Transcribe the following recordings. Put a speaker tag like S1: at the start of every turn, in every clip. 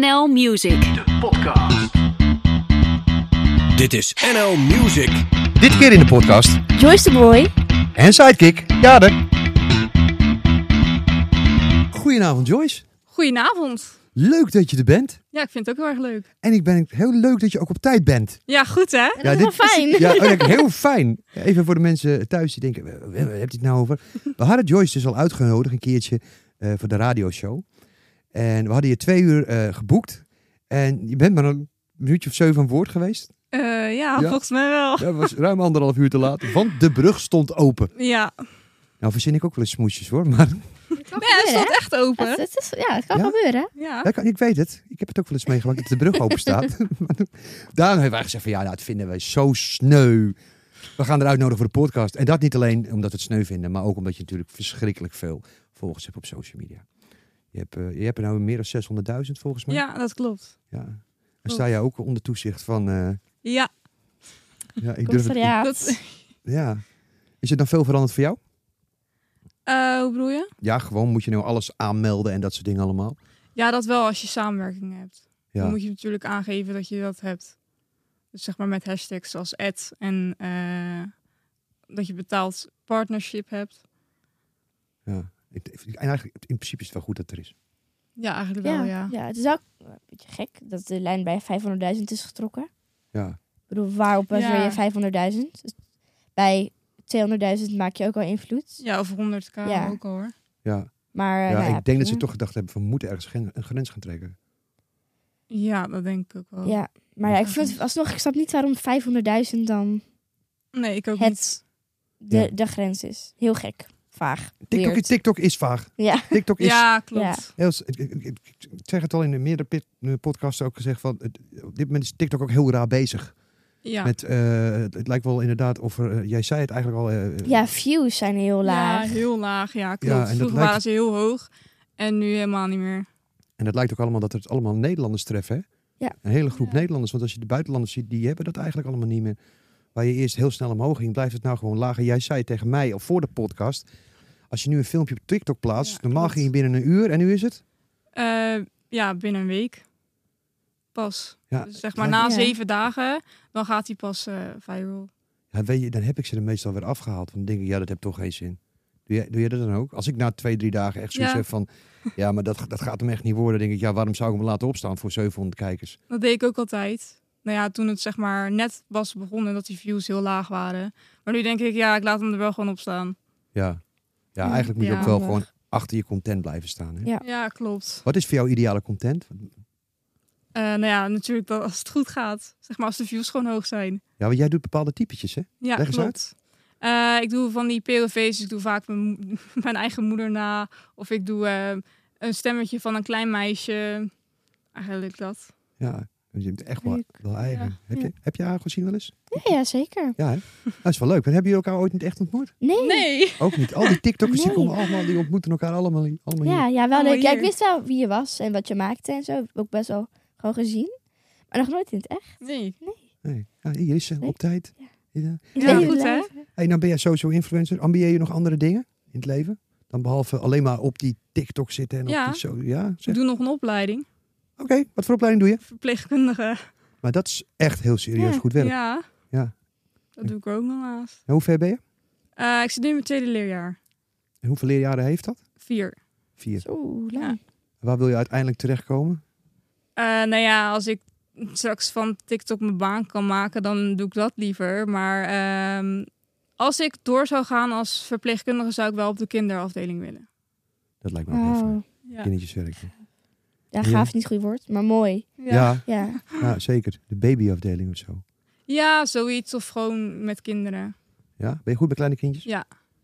S1: NL Music.
S2: De podcast.
S3: Dit is NL Music.
S4: Dit keer in de podcast.
S5: Joyce de Boy.
S4: En sidekick, Jade. Goedenavond Joyce.
S5: Goedenavond.
S4: Leuk dat je er bent.
S5: Ja, ik vind het ook heel erg leuk.
S4: En ik ben heel leuk dat je ook op tijd bent.
S5: Ja, goed hè?
S4: Ja,
S5: is wel fijn.
S4: Ja, oh, ja, heel fijn. Even voor de mensen thuis die denken, waar waar- waar heb je het nou over? We hadden Joyce dus al uitgenodigd een keertje eh, voor de radioshow. En we hadden je twee uur eh, geboekt. En je bent maar een minuutje of zeven aan woord geweest.
S5: Eh, ja,
S4: Ja.
S5: volgens mij wel.
S4: Ja, het was ruim anderhalf uur te laat, want de brug stond open.
S5: Ja.
S4: Nou verzin ik ook wel eens smoesjes hoor, maar
S5: Nee, het
S6: gebeuren,
S5: stond echt
S6: hè?
S5: open.
S6: Het, het is, ja, het kan
S4: Ja?
S6: gebeuren. hè?
S5: Ja.
S4: Ja, ik- ik weet het. Ik heb het ook wel eens meegemaakt dat de brug open staat. Daarom hebben wij gezegd van ja, nou, dat vinden wij zo sneu. We gaan eruit nodigen voor de podcast. En dat niet alleen omdat we het sneu vinden, maar ook omdat je natuurlijk verschrikkelijk veel volgers hebt op social media. Je hebt, eh, je hebt er nou meer dan 600.000 volgens mij.
S5: ja, dat klopt.
S4: Ja. En sta je ook onder toezicht van... eh,
S5: Ja,
S4: ja, ik durf het,
S6: Commissariaat.
S5: dat,
S4: ja. Is het dan veel veranderd voor jou?
S5: Eh, hoe bedoel je?
S4: Ja, gewoon moet je nou alles aanmelden en dat soort dingen allemaal.
S5: Ja, dat wel als je samenwerking hebt. Dan
S4: Ja.
S5: moet je natuurlijk aangeven dat je dat hebt. Dus zeg maar met hashtags als ad en eh, dat je betaald partnership hebt.
S4: ja. Ik- ik- En eigenlijk, in principe is het wel goed dat het er is.
S5: Ja, eigenlijk
S6: Ja,
S5: wel, ja.
S6: ja, het is ook een beetje gek dat de lijn bij 500.000 is getrokken.
S4: Ja.
S6: Ik bedoel, waarop baseer
S5: Ja.
S6: je 500.000? Dus Bij 200.000 maak je ook al invloed.
S5: Ja, of 100k
S6: Ja.
S5: ook al hoor.
S4: Ja,
S6: Maar eh,
S4: ja,
S6: nou ja,
S4: ik denk dat ze
S6: prima.
S4: toch gedacht hebben, we moeten ergens gen- een grens gaan trekken.
S5: Ja, dat denk ik ook wel.
S6: Ja, maar ja, ik vind het alsnog, ik snap niet waarom 500.000 dan
S5: Nee, ik ook
S6: Het-
S5: niet.
S6: de,
S4: Ja.
S6: de grens is. Heel gek. Vaag.
S4: TikTok,
S6: Weird.
S4: TikTok is vaag.
S6: Ja.
S4: Tiktok is...
S5: Ja, klopt.
S4: Heel s- ik, ik- ik- ik zeg het al in de meerdere pit- eh, podcasts ook gezegd. Van, het- op dit moment is TikTok ook heel raar bezig.
S5: Ja.
S4: Met, eh, het, het lijkt wel inderdaad of er, eh, jij zei het eigenlijk al. eh,
S6: Ja, views zijn heel laag.
S5: Ja, heel laag. Ja, klopt.
S4: en dat
S5: Vroeger
S4: lijkt-
S5: waren ze heel hoog en nu helemaal niet meer.
S4: En het lijkt ook allemaal dat het allemaal Nederlanders treffen. Hè?
S6: Ja.
S4: Een hele groep
S5: Ja.
S4: Nederlanders. Want als je de buitenlanders ziet, die hebben dat eigenlijk allemaal niet meer. Waar je eerst heel snel omhoog ging, blijft het nou gewoon lager. Jij zei tegen mij al voor de podcast. Als je nu een filmpje op TikTok plaatst,
S5: Ja,
S4: normaal
S5: klopt.
S4: ging je binnen een uur. En nu is het?
S5: Eh, ja, binnen een week pas.
S4: Ja,
S5: Dus zeg maar
S4: lijkt-
S5: na
S6: Ja.
S5: zeven dagen, dan gaat hij pas eh, viral.
S4: Ja, weet je, dan heb ik ze er meestal weer afgehaald. Want dan denk ik, ja, dat heeft toch geen zin. Doe jij, doe jij dat dan ook? Als ik na twee, drie dagen echt zoiets
S5: Ja.
S4: heb van... Ja, maar dat, dat gaat hem echt niet worden. Dan denk ik, ja, waarom zou ik hem laten opstaan voor 700 kijkers?
S5: Dat deed ik ook altijd. Nou ja, toen het zeg maar net was begonnen dat die views heel laag waren. Maar nu denk ik, ja, ik laat hem er wel gewoon op staan.
S4: Ja, ja eigenlijk moet je
S5: ja,
S4: ook wel
S6: handig.
S4: gewoon achter je content blijven staan. Hè?
S6: Ja.
S5: Ja, klopt.
S4: Wat is voor jou ideale content?
S5: Eh, nou ja, natuurlijk dat als het goed gaat. Zeg maar als de views gewoon hoog zijn.
S4: Ja, want jij doet bepaalde typetjes, hè?
S5: Ja,
S4: Leg eens
S5: klopt. Eh, ik doe van die POV's, dus ik doe vaak mijn, moe- mijn eigen moeder na. Of ik doe eh, een stemmetje van een klein meisje. Eigenlijk dat.
S4: Ja, je hebt echt wel,
S6: Leuk.
S4: wel eigen.
S5: Ja.
S4: Heb, je, heb je haar gezien wel eens?
S6: Ja, ja, zeker.
S4: Ja, hè? Dat is wel leuk. En hebben jullie elkaar ooit niet echt ontmoet?
S6: Nee.
S5: Nee!
S4: Ook niet. Al die TikTokkers die
S6: Nee.
S4: komen allemaal, die ontmoeten elkaar allemaal, hier- allemaal
S6: Ja,
S4: hier.
S6: ja, wel
S5: Allemaal
S6: leuk. Ja, ik
S5: Oh, hier.
S6: wist wel wie je was en wat je maakte en zo. Ook best wel gewoon gezien. Maar nog nooit in het echt.
S5: Nee.
S4: Nee. Ja, hier is ze,
S6: Nee.
S4: op tijd.
S6: Ja.
S4: Ja.
S6: Ik
S5: Ja,
S6: weet het
S5: goed, hè?
S6: leven.
S4: Hey, nou ben jij sowieso influencer. Ambieer je nog andere dingen in het leven? Dan behalve alleen maar op die TikTok zitten en
S5: Ja.
S4: op die zo. Ja,
S5: Ik
S4: zeg.
S5: doe nog een opleiding.
S4: Oké, wat voor opleiding doe je?
S5: Verpleegkundige.
S4: Maar dat is echt heel serieus
S6: Ja.
S4: goed werk.
S5: Ja.
S4: Ja.
S5: Dat doe ik er ook nog naast.
S4: En hoe ver ben je?
S5: Eh, ik zit nu in mijn tweede leerjaar.
S4: En hoeveel leerjaren heeft dat?
S5: Vier.
S4: Vier.
S6: Oeh, lang.
S5: Ja.
S4: Waar wil je uiteindelijk terechtkomen?
S5: Eh, nou ja, als ik straks van TikTok mijn baan kan maken, dan doe ik dat liever. Maar ehm, als ik door zou gaan als verpleegkundige, zou ik wel op de kinderafdeling willen.
S4: Dat lijkt me ook heel fijn.
S6: Wauw.
S5: Ja.
S4: Kindertjeswerk.
S6: Oh, Ja,
S4: Ja.
S6: gaaf is niet het goede woord, maar mooi.
S4: ja.
S6: Ja.
S4: Ja, zeker. De babyafdeling of zo.
S5: Ja, zoiets. Of gewoon met kinderen.
S4: Ja? Ben je goed bij kleine kindjes?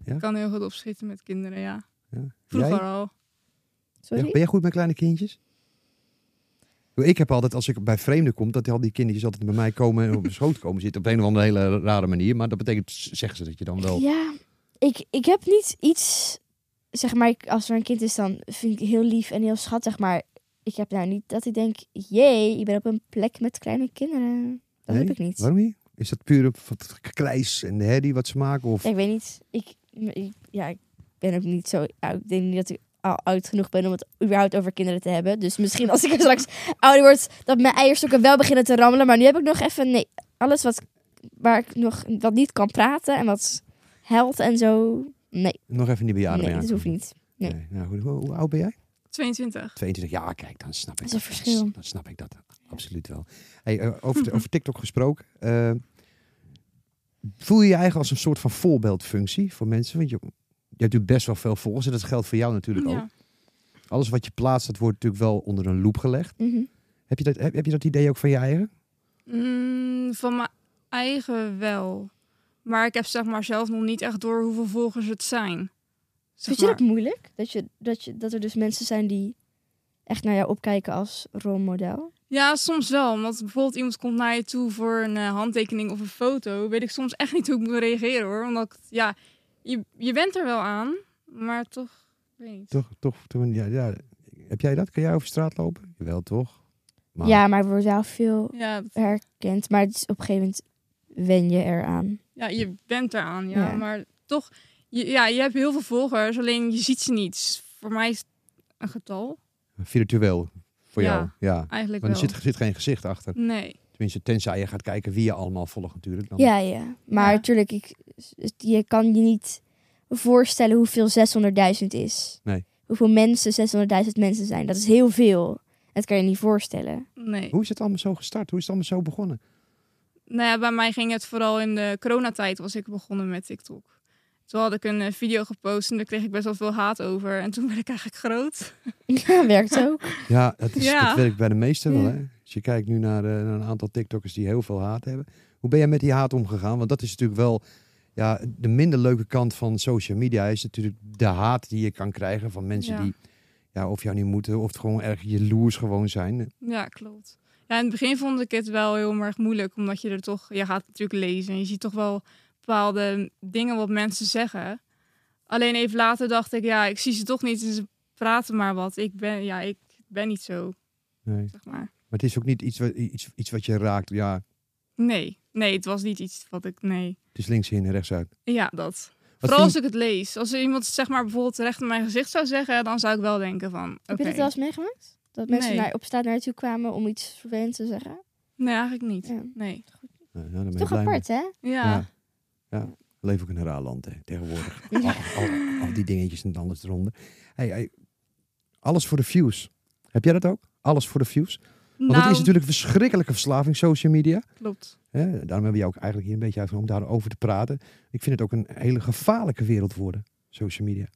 S5: Ik kan heel goed opschieten met kinderen, ja.
S4: Ja.
S5: Vroeger
S4: Jij?
S5: al.
S6: Sorry?
S4: Ja, ben jij goed bij kleine kindjes? Ik heb altijd, als ik bij vreemden kom, dat al die kindertjes altijd bij mij komen en op mijn schoot komen zitten. Op een of andere hele rare manier. Maar dat betekent, zeggen ze dat je dan wel...
S6: Ja, ik, ik heb niet iets. Zeg maar, ik- als er een kind is, dan vind ik het heel lief en heel schattig. Maar ik heb nou niet dat ik denk: jee, ik ben op een plek met kleine kinderen. Dat
S4: Nee?
S6: heb ik niet.
S4: Waarom niet? Is dat puur op van het krijs en de herrie wat ze maken? Of...
S6: Ja, ik weet niet. Ik, ik- ja, ik ben ook niet zo. ja, ik denk niet dat ik al oud genoeg ben om het überhaupt over kinderen te hebben. Dus misschien als ik straks ouder word, dat mijn eierstokken wel beginnen te rammelen. Maar nu heb ik nog even, nee, alles wat, waar ik nog wat niet kan praten en wat held en zo. Nee,
S4: Nog even die bejaarden
S6: nee,
S4: mee
S6: dat hoeft niet.
S4: aankomen. Nee, nou, goed. hoe, hoe oud ben jij?
S5: 22.
S4: 22 jaar, kijk, dan snap ik
S6: Dat is een verschil.
S4: Dan snap ik dat absoluut wel. Hey, eh, over, over TikTok gesproken. eh, voel je je eigenlijk als een soort van voorbeeldfunctie voor mensen? Want je, je hebt natuurlijk best wel veel volgers en dat geldt voor jou natuurlijk ook.
S5: Ja.
S4: Alles wat je plaatst, dat wordt natuurlijk wel onder een loep gelegd.
S6: Mhm.
S4: Heb je dat, heb, heb je dat idee ook van je eigen?
S5: Mm, van mijn eigen wel. Maar ik heb zeg maar zelf nog niet echt door hoeveel volgers het zijn. Zeg
S6: Vind je dat
S5: maar.
S6: moeilijk? Dat, je, dat, je, dat er dus mensen zijn die echt naar jou opkijken als rolmodel?
S5: Ja, soms wel. Want bijvoorbeeld iemand komt naar je toe voor een eh, handtekening of een foto. Weet ik soms echt niet hoe ik moet reageren hoor. Omdat, ik- ja, je, je bent er wel aan. Maar toch, ik weet niet.
S4: Toch, toch, toch ja, ja. Heb jij dat? Kun jij over straat lopen? Wel toch? Maar-
S6: Ja, maar er wordt wel veel
S5: Ja, dat-
S6: herkend. Maar het is op een gegeven moment wen je eraan.
S5: ja, je bent eraan. Ja,
S6: Ja.
S5: maar toch, je, ja, je hebt heel veel volgers. Alleen je ziet ze niet. Voor mij is het een getal.
S4: Virtueel voor
S5: Ja.
S4: jou. Ja.
S5: Eigenlijk
S4: Want
S5: wel.
S4: er zit, zit geen gezicht achter.
S5: Nee.
S4: Tenminste, tenzij je gaat kijken wie je allemaal volgt natuurlijk. Dan
S6: Ja, ja. Maar
S5: Ja.
S6: natuurlijk, ik, je kan je niet voorstellen hoeveel 600.000 is.
S4: Nee.
S6: Hoeveel mensen 600.000 mensen zijn. Dat is heel veel. Dat kan je niet voorstellen.
S5: Nee.
S4: Hoe is het allemaal zo gestart? Hoe is het allemaal zo begonnen?
S5: Nou ja, bij mij ging het vooral in de coronatijd was ik begonnen met TikTok. Toen had ik een eh, video gepost en daar kreeg ik best wel veel haat over. En toen werd ik eigenlijk groot.
S6: Ja, werkt ook.
S4: Ja, dat, is,
S5: Ja.
S4: dat werkt bij de meesten wel.
S6: Ja.
S4: Hè? Als je kijkt nu naar, eh, naar een aantal TikTokkers die heel veel haat hebben. Hoe ben jij met die haat omgegaan? Want dat is natuurlijk wel ja, de minder leuke kant van social media. Is natuurlijk de haat die je kan krijgen van mensen
S5: Ja.
S4: die ja, of jou niet moeten. Of gewoon erg jaloers gewoon zijn.
S5: Ja, klopt. Ja, in het begin vond ik het wel heel erg moeilijk, omdat je er toch, je gaat natuurlijk lezen en je ziet toch wel bepaalde dingen wat mensen zeggen. Alleen even later dacht ik, ja, ik zie ze toch niet en ze praten maar wat. Ik ben, ja, ik ben niet zo,
S4: Nee.
S5: zeg maar.
S4: Maar het is ook niet iets wat, iets, iets wat je raakt. Ja,
S5: Nee, nee, het was niet iets wat ik, nee.
S4: het is links in en rechts uit.
S5: Ja, dat.
S4: Wat
S5: Vooral als
S4: vind
S5: ik het lees. Als er iemand zeg maar bijvoorbeeld recht in mijn gezicht zou zeggen, dan zou ik wel denken van.
S6: Heb je
S5: oké.
S6: dat wel eens meegemaakt? Dat mensen
S5: Nee.
S6: naar, op straat naar je toe kwamen om iets vervelends te zeggen?
S5: Nee, eigenlijk niet.
S6: Ja.
S5: Nee.
S4: je- Nou, dan ben je
S6: Toch
S4: blij mee.
S6: apart, hè?
S5: Ja.
S4: Ja. ja. We leven ook in een raar land hè, tegenwoordig.
S6: Ja.
S4: Al, al- al die dingetjes en alles eronder. Hey, hey, alles voor de views. Heb jij dat ook? Alles voor de views? Want
S5: nou,
S4: het is natuurlijk een verschrikkelijke verslaving, social media.
S5: klopt.
S4: Hè? Daarom hebben we jou ook eigenlijk hier een beetje uitgenodigd om daarover te praten. Ik vind het ook een hele gevaarlijke wereld worden, social media.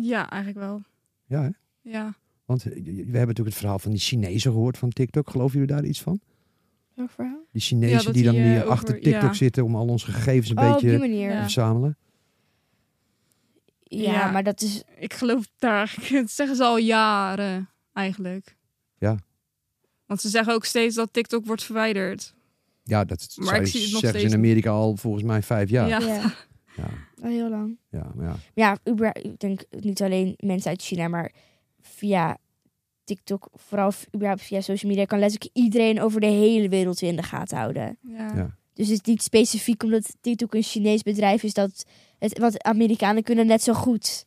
S5: Ja, eigenlijk wel.
S4: Ja, hè?
S5: Ja.
S4: Want eh, we hebben natuurlijk het verhaal van die Chinezen gehoord van TikTok. Geloven jullie daar iets van?
S6: Nog verhaal?
S4: Die
S5: Ja,
S4: Chinezen
S5: dat
S4: die dan
S5: die,
S4: hier
S5: eh,
S4: achter
S5: over-
S4: TikTok
S5: ja.
S4: zitten om al onze gegevens een
S6: Oh, op
S4: beetje
S6: die
S4: te
S6: manier.
S5: Ja.
S6: Ja.
S4: verzamelen.
S5: Ja.
S6: maar dat is...
S5: Ik geloof daar eigenlijk. Dat zeggen ze al jaren eigenlijk.
S4: Ja.
S5: Want ze zeggen ook steeds dat TikTok wordt verwijderd.
S4: Ja, dat
S5: Maar
S4: zou
S5: ik
S4: je
S5: zie het nog
S4: zeggen ze in
S5: steeds
S4: Amerika al volgens mij vijf jaar.
S5: Ja.
S6: Ja.
S4: Ja,
S6: al heel lang.
S4: ja, maar ja.
S6: Ja, Uber, ik denk niet alleen mensen uit China, maar via TikTok, vooral v- überhaupt via social media, kan letterlijk iedereen over de hele wereld weer in de gaten houden.
S5: Ja.
S4: Ja.
S6: Dus het is niet specifiek omdat TikTok een Chinees bedrijf is, dat het, want Amerikanen kunnen net zo goed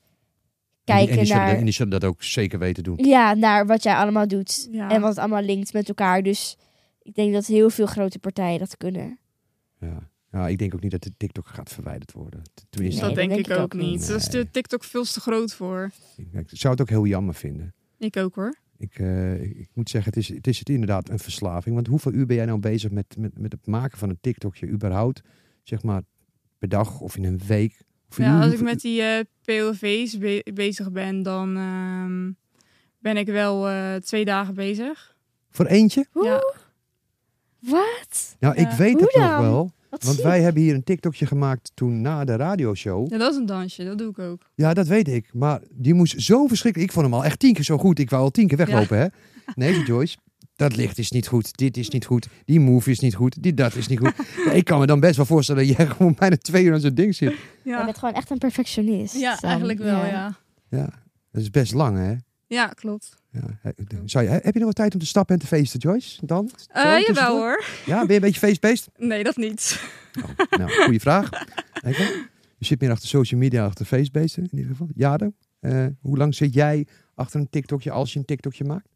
S4: en, die- en
S6: kijken
S4: die zullen,
S6: naar,
S4: en die zullen dat ook zeker weten doen.
S6: ja, naar wat jij allemaal doet
S5: Ja.
S6: en wat het allemaal linkt met elkaar. Dus ik denk dat heel veel grote partijen dat kunnen.
S4: Ja. ja, ik denk ook niet dat de TikTok gaat verwijderd worden. T-
S5: Dus
S4: Tenminste,
S5: dat
S6: Nee,
S5: denk, ik ook niet. Daar is
S4: Nee.
S5: Dus de TikTok veel te groot voor.
S4: ik, ik zou het ook heel jammer vinden.
S5: Ik ook hoor.
S4: Ik, eh, ik- ik moet zeggen, het is, het is het inderdaad een verslaving. Want hoeveel uur ben jij nou bezig met, met, met het maken van een TikTokje überhaupt? Zeg maar per dag of in een week? Hoeveel uur-
S5: Ja, als ik
S4: hoeveel-
S5: met die eh, POV's be- bezig ben, dan ehm, ben ik wel eh, twee dagen bezig.
S4: Voor eentje?
S6: Hoe?
S5: Ja.
S6: Wat?
S4: Nou, ik
S5: Ja.
S4: weet
S6: Hoe
S4: het nog
S6: dan?
S4: wel.
S6: Wat
S4: Want
S6: ziek.
S4: wij hebben hier een TikTokje gemaakt toen na de radioshow.
S5: Ja, dat is een dansje. Dat doe ik ook.
S4: Ja, dat weet ik. Maar die moest zo verschrikkelijk. Ik vond hem al echt tien keer zo goed. Ik wou al tien keer weglopen, hè? Nee, Joyce. Dat licht is niet goed. Dit is niet goed. Die move is niet goed. Dit dat is niet goed. Ja, ik kan me dan best wel voorstellen dat jij gewoon bijna twee uur aan zo'n ding zit.
S6: Jij bent gewoon echt een perfectionist.
S5: Ja,
S6: dan.
S5: eigenlijk wel, ja.
S4: Ja, dat is best lang, hè?
S5: Ja, klopt.
S4: Ja. Zou je, heb je nog wat tijd om te stappen en te feesten, Joyce? Dan? Zo,
S5: Eh jawel
S4: tussendoor?
S5: hoor.
S4: Ja, ben je een beetje feestbeest?
S5: Nee, dat niet.
S4: Oh, nou, goede vraag. Kijk, hè. Je zit meer achter social media, achter feestbeesten in ieder geval. Jade, eh, hoe lang zit jij achter een TikTokje als je een TikTokje maakt?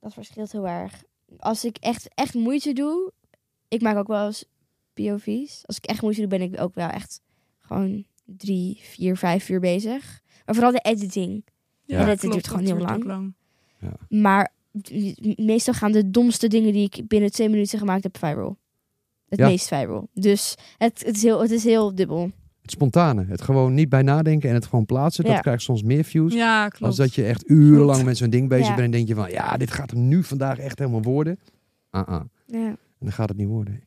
S6: Dat verschilt heel erg. Als ik echt, echt moeite doe, ik maak ook wel eens POV's. Als ik echt moeite doe, ben ik ook wel echt gewoon drie, vier, vijf uur bezig. Maar vooral de editing.
S4: Ja,
S6: dat
S5: klopt,
S6: duurt gewoon heel
S5: ook
S6: lang. Maar meestal gaan de domste dingen die ik binnen twee minuten gemaakt heb viral. Het
S4: Ja.
S6: meest viral. Dus het, het, is heel, het is heel dubbel.
S4: Het spontane. Het gewoon niet bij nadenken en het gewoon plaatsen. Dat
S6: Ja.
S4: krijgt soms meer views.
S5: Ja, klopt.
S4: Als dat je echt urenlang met zo'n ding bezig
S6: Ja.
S4: bent en denk je van... Ja, dit gaat hem nu vandaag echt helemaal worden. Ah, ah.
S6: Ja.
S4: En dan gaat het niet worden.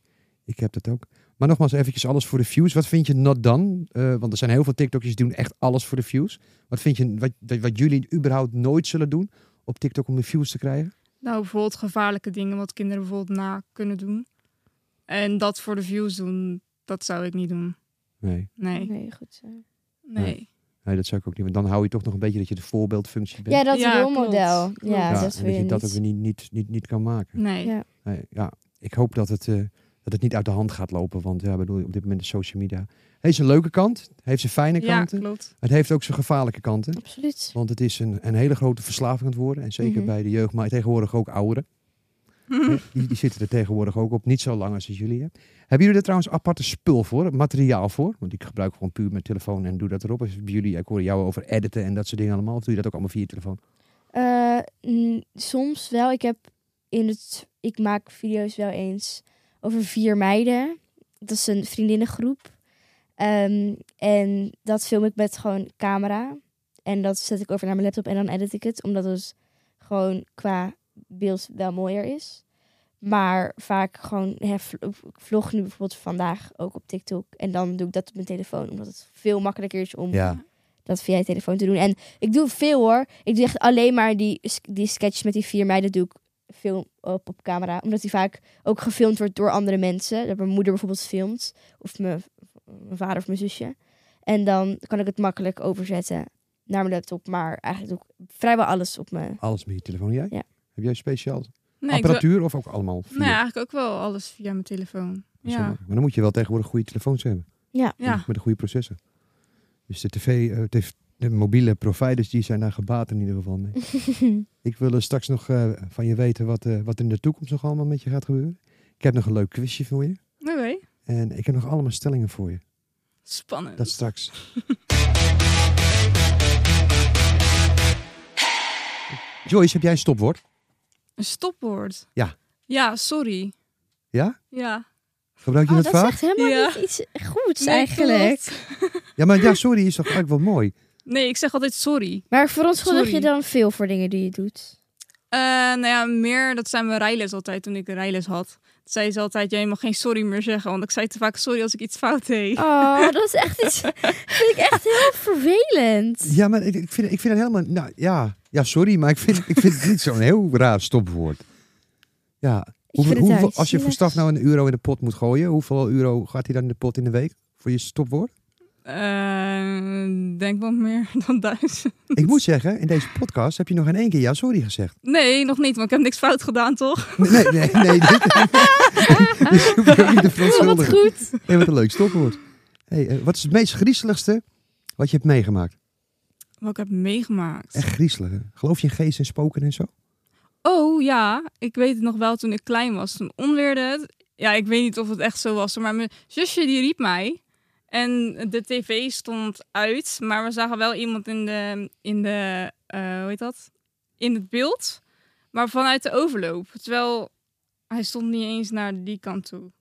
S4: Ik heb dat ook. Maar nogmaals, eventjes alles voor de views. Wat vind je not dan? want er zijn heel veel TikTokjes die doen echt alles voor de views. Wat vind je, wat, dat- wat jullie überhaupt nooit zullen doen op TikTok om de views te krijgen?
S5: Nou, bijvoorbeeld gevaarlijke dingen wat kinderen bijvoorbeeld na kunnen doen. En dat voor de views doen, dat zou ik niet doen.
S4: Nee.
S5: Nee,
S6: Nee, goed zo.
S5: nee.
S4: nee, dat zou ik ook niet. Want dan hou je toch nog een beetje dat je de voorbeeldfunctie bent.
S6: Ja, dat
S5: Ja,
S6: rolmodel.
S5: klopt, klopt.
S6: Ja,
S4: Ja,
S6: dat is
S4: en dat
S6: weer
S4: je dat ook
S6: niet.
S4: weer niet, niet, niet, niet kan maken.
S5: Nee.
S6: Ja.
S4: Nee, ja, ik hoop dat het, eh, dat het niet uit de hand gaat lopen. Want ja, bedoel, op dit moment is social media... Heeft zijn leuke kant, heeft zijn fijne
S5: Ja,
S4: kanten.
S5: klopt.
S4: het heeft ook zijn gevaarlijke kanten.
S6: Absoluut.
S4: Want het is een, een hele grote verslaving aan het worden. En zeker
S6: Mhm.
S4: bij de jeugd, maar tegenwoordig ook ouderen. Hè, die, die zitten er tegenwoordig ook op. Niet zo lang als jullie. Hè. Hebben jullie er trouwens aparte spul voor? Materiaal voor? Want ik gebruik gewoon puur mijn telefoon en doe dat erop. Als bij jullie, ik hoor jou over editen en dat soort dingen allemaal. Of doe je dat ook allemaal via je telefoon?
S6: Eh, n- soms wel. Ik heb in het. Ik maak video's wel eens over vier meiden. Dat is een vriendinnengroep. Ehm, en dat film ik met gewoon camera. En dat zet ik over naar mijn laptop en dan edit ik het. Omdat het gewoon qua beeld wel mooier is. Maar vaak gewoon. Hè, vl- ik vlog nu bijvoorbeeld vandaag ook op TikTok. En dan doe ik dat op mijn telefoon. Omdat het veel makkelijker is om
S4: Ja.
S6: dat via je telefoon te doen. En ik doe veel hoor. Ik doe echt alleen maar die, die sketches met die vier meiden doe ik veel op, op camera. Omdat die vaak ook gefilmd wordt door andere mensen. Dat mijn moeder bijvoorbeeld filmt. Of mijn, mijn vader of mijn zusje. En dan kan ik het makkelijk overzetten naar mijn laptop. Maar eigenlijk doe ik vrijwel alles op mijn...
S4: Alles met je telefoon. Jij?
S6: Ja.
S4: Heb jij speciaal
S5: Nee, ik wil-
S4: apparatuur of ook allemaal? via-
S5: nee, eigenlijk ook wel alles via mijn telefoon.
S4: Zo
S5: Ja.
S4: makkelijk. Maar dan moet je wel tegenwoordig goede telefoons hebben.
S6: Ja.
S5: Ja.
S4: Met een goede processor. Dus de tv, eh, tv de mobiele providers, die zijn daar gebaat in ieder geval mee. ik wil eh, straks nog eh, van je weten wat, eh, wat er in de toekomst nog allemaal met je gaat gebeuren. Ik heb nog een leuk quizje voor je.
S5: Oké.
S4: En ik heb nog allemaal stellingen voor je.
S5: Spannend.
S4: Dat straks. Joyce, heb jij een stopwoord?
S5: Een stopwoord.
S4: Ja.
S5: Ja, sorry.
S4: Ja?
S5: Ja.
S4: Gebruik je
S6: Oh,
S4: dat,
S6: dat
S4: vaak?
S6: zegt helemaal
S5: Ja.
S6: niet iets goeds
S5: Nee,
S6: eigenlijk.
S4: Ja, maar ja, sorry is toch eigenlijk wel mooi.
S5: Nee, ik zeg altijd sorry.
S6: Maar verontschuldig je
S5: Sorry.
S6: dan veel voor dingen die je doet?
S5: Eh, nou ja, meer, dat zijn mijn rijles altijd toen ik de rijles had. Zei ze altijd, jij mag geen sorry meer zeggen, want ik zei te vaak sorry als ik iets fout deed.
S6: Oh, dat is echt iets... vind ik echt heel vervelend.
S4: Ja, maar ik, ik vind, ik vind het helemaal... Nou, ja, ja, sorry, maar ik vind, ik vind het niet zo'n heel raar stopwoord. Ja,
S6: Ik vind
S4: Hoeveel-
S6: het
S4: hoeveel-
S6: daar iets
S4: als je voor
S6: zieligs.
S4: staf nou een euro in de pot moet gooien, hoeveel euro gaat hij dan in de pot in de week voor je stopwoord?
S5: Eh, denk wat meer dan duizend.
S4: Ik moet zeggen, in deze podcast heb je nog in één keer ja sorry gezegd.
S5: Nee, nog niet, want ik heb niks fout gedaan, toch?
S4: Nee, nee, nee. nee, dit- je hoeft je ook niet te
S6: Oh, Wat
S4: verontschuldigen.
S6: goed.
S4: Hey, wat een leuk stopwoord. Hey, eh, wat is het meest griezeligste wat je hebt meegemaakt?
S5: Wat ik heb meegemaakt.
S4: Echt griezelig. hè? Geloof je in geesten en spoken en zo?
S5: Oh ja, ik weet het nog wel toen ik klein was. Toen onweerde het. Ja, ik weet niet of het echt zo was, maar mijn zusje die riep mij. En de tv stond uit, maar we zagen wel iemand in de, in de eh, hoe heet dat? In het beeld, maar vanuit de overloop. Terwijl hij stond niet eens naar die kant toe.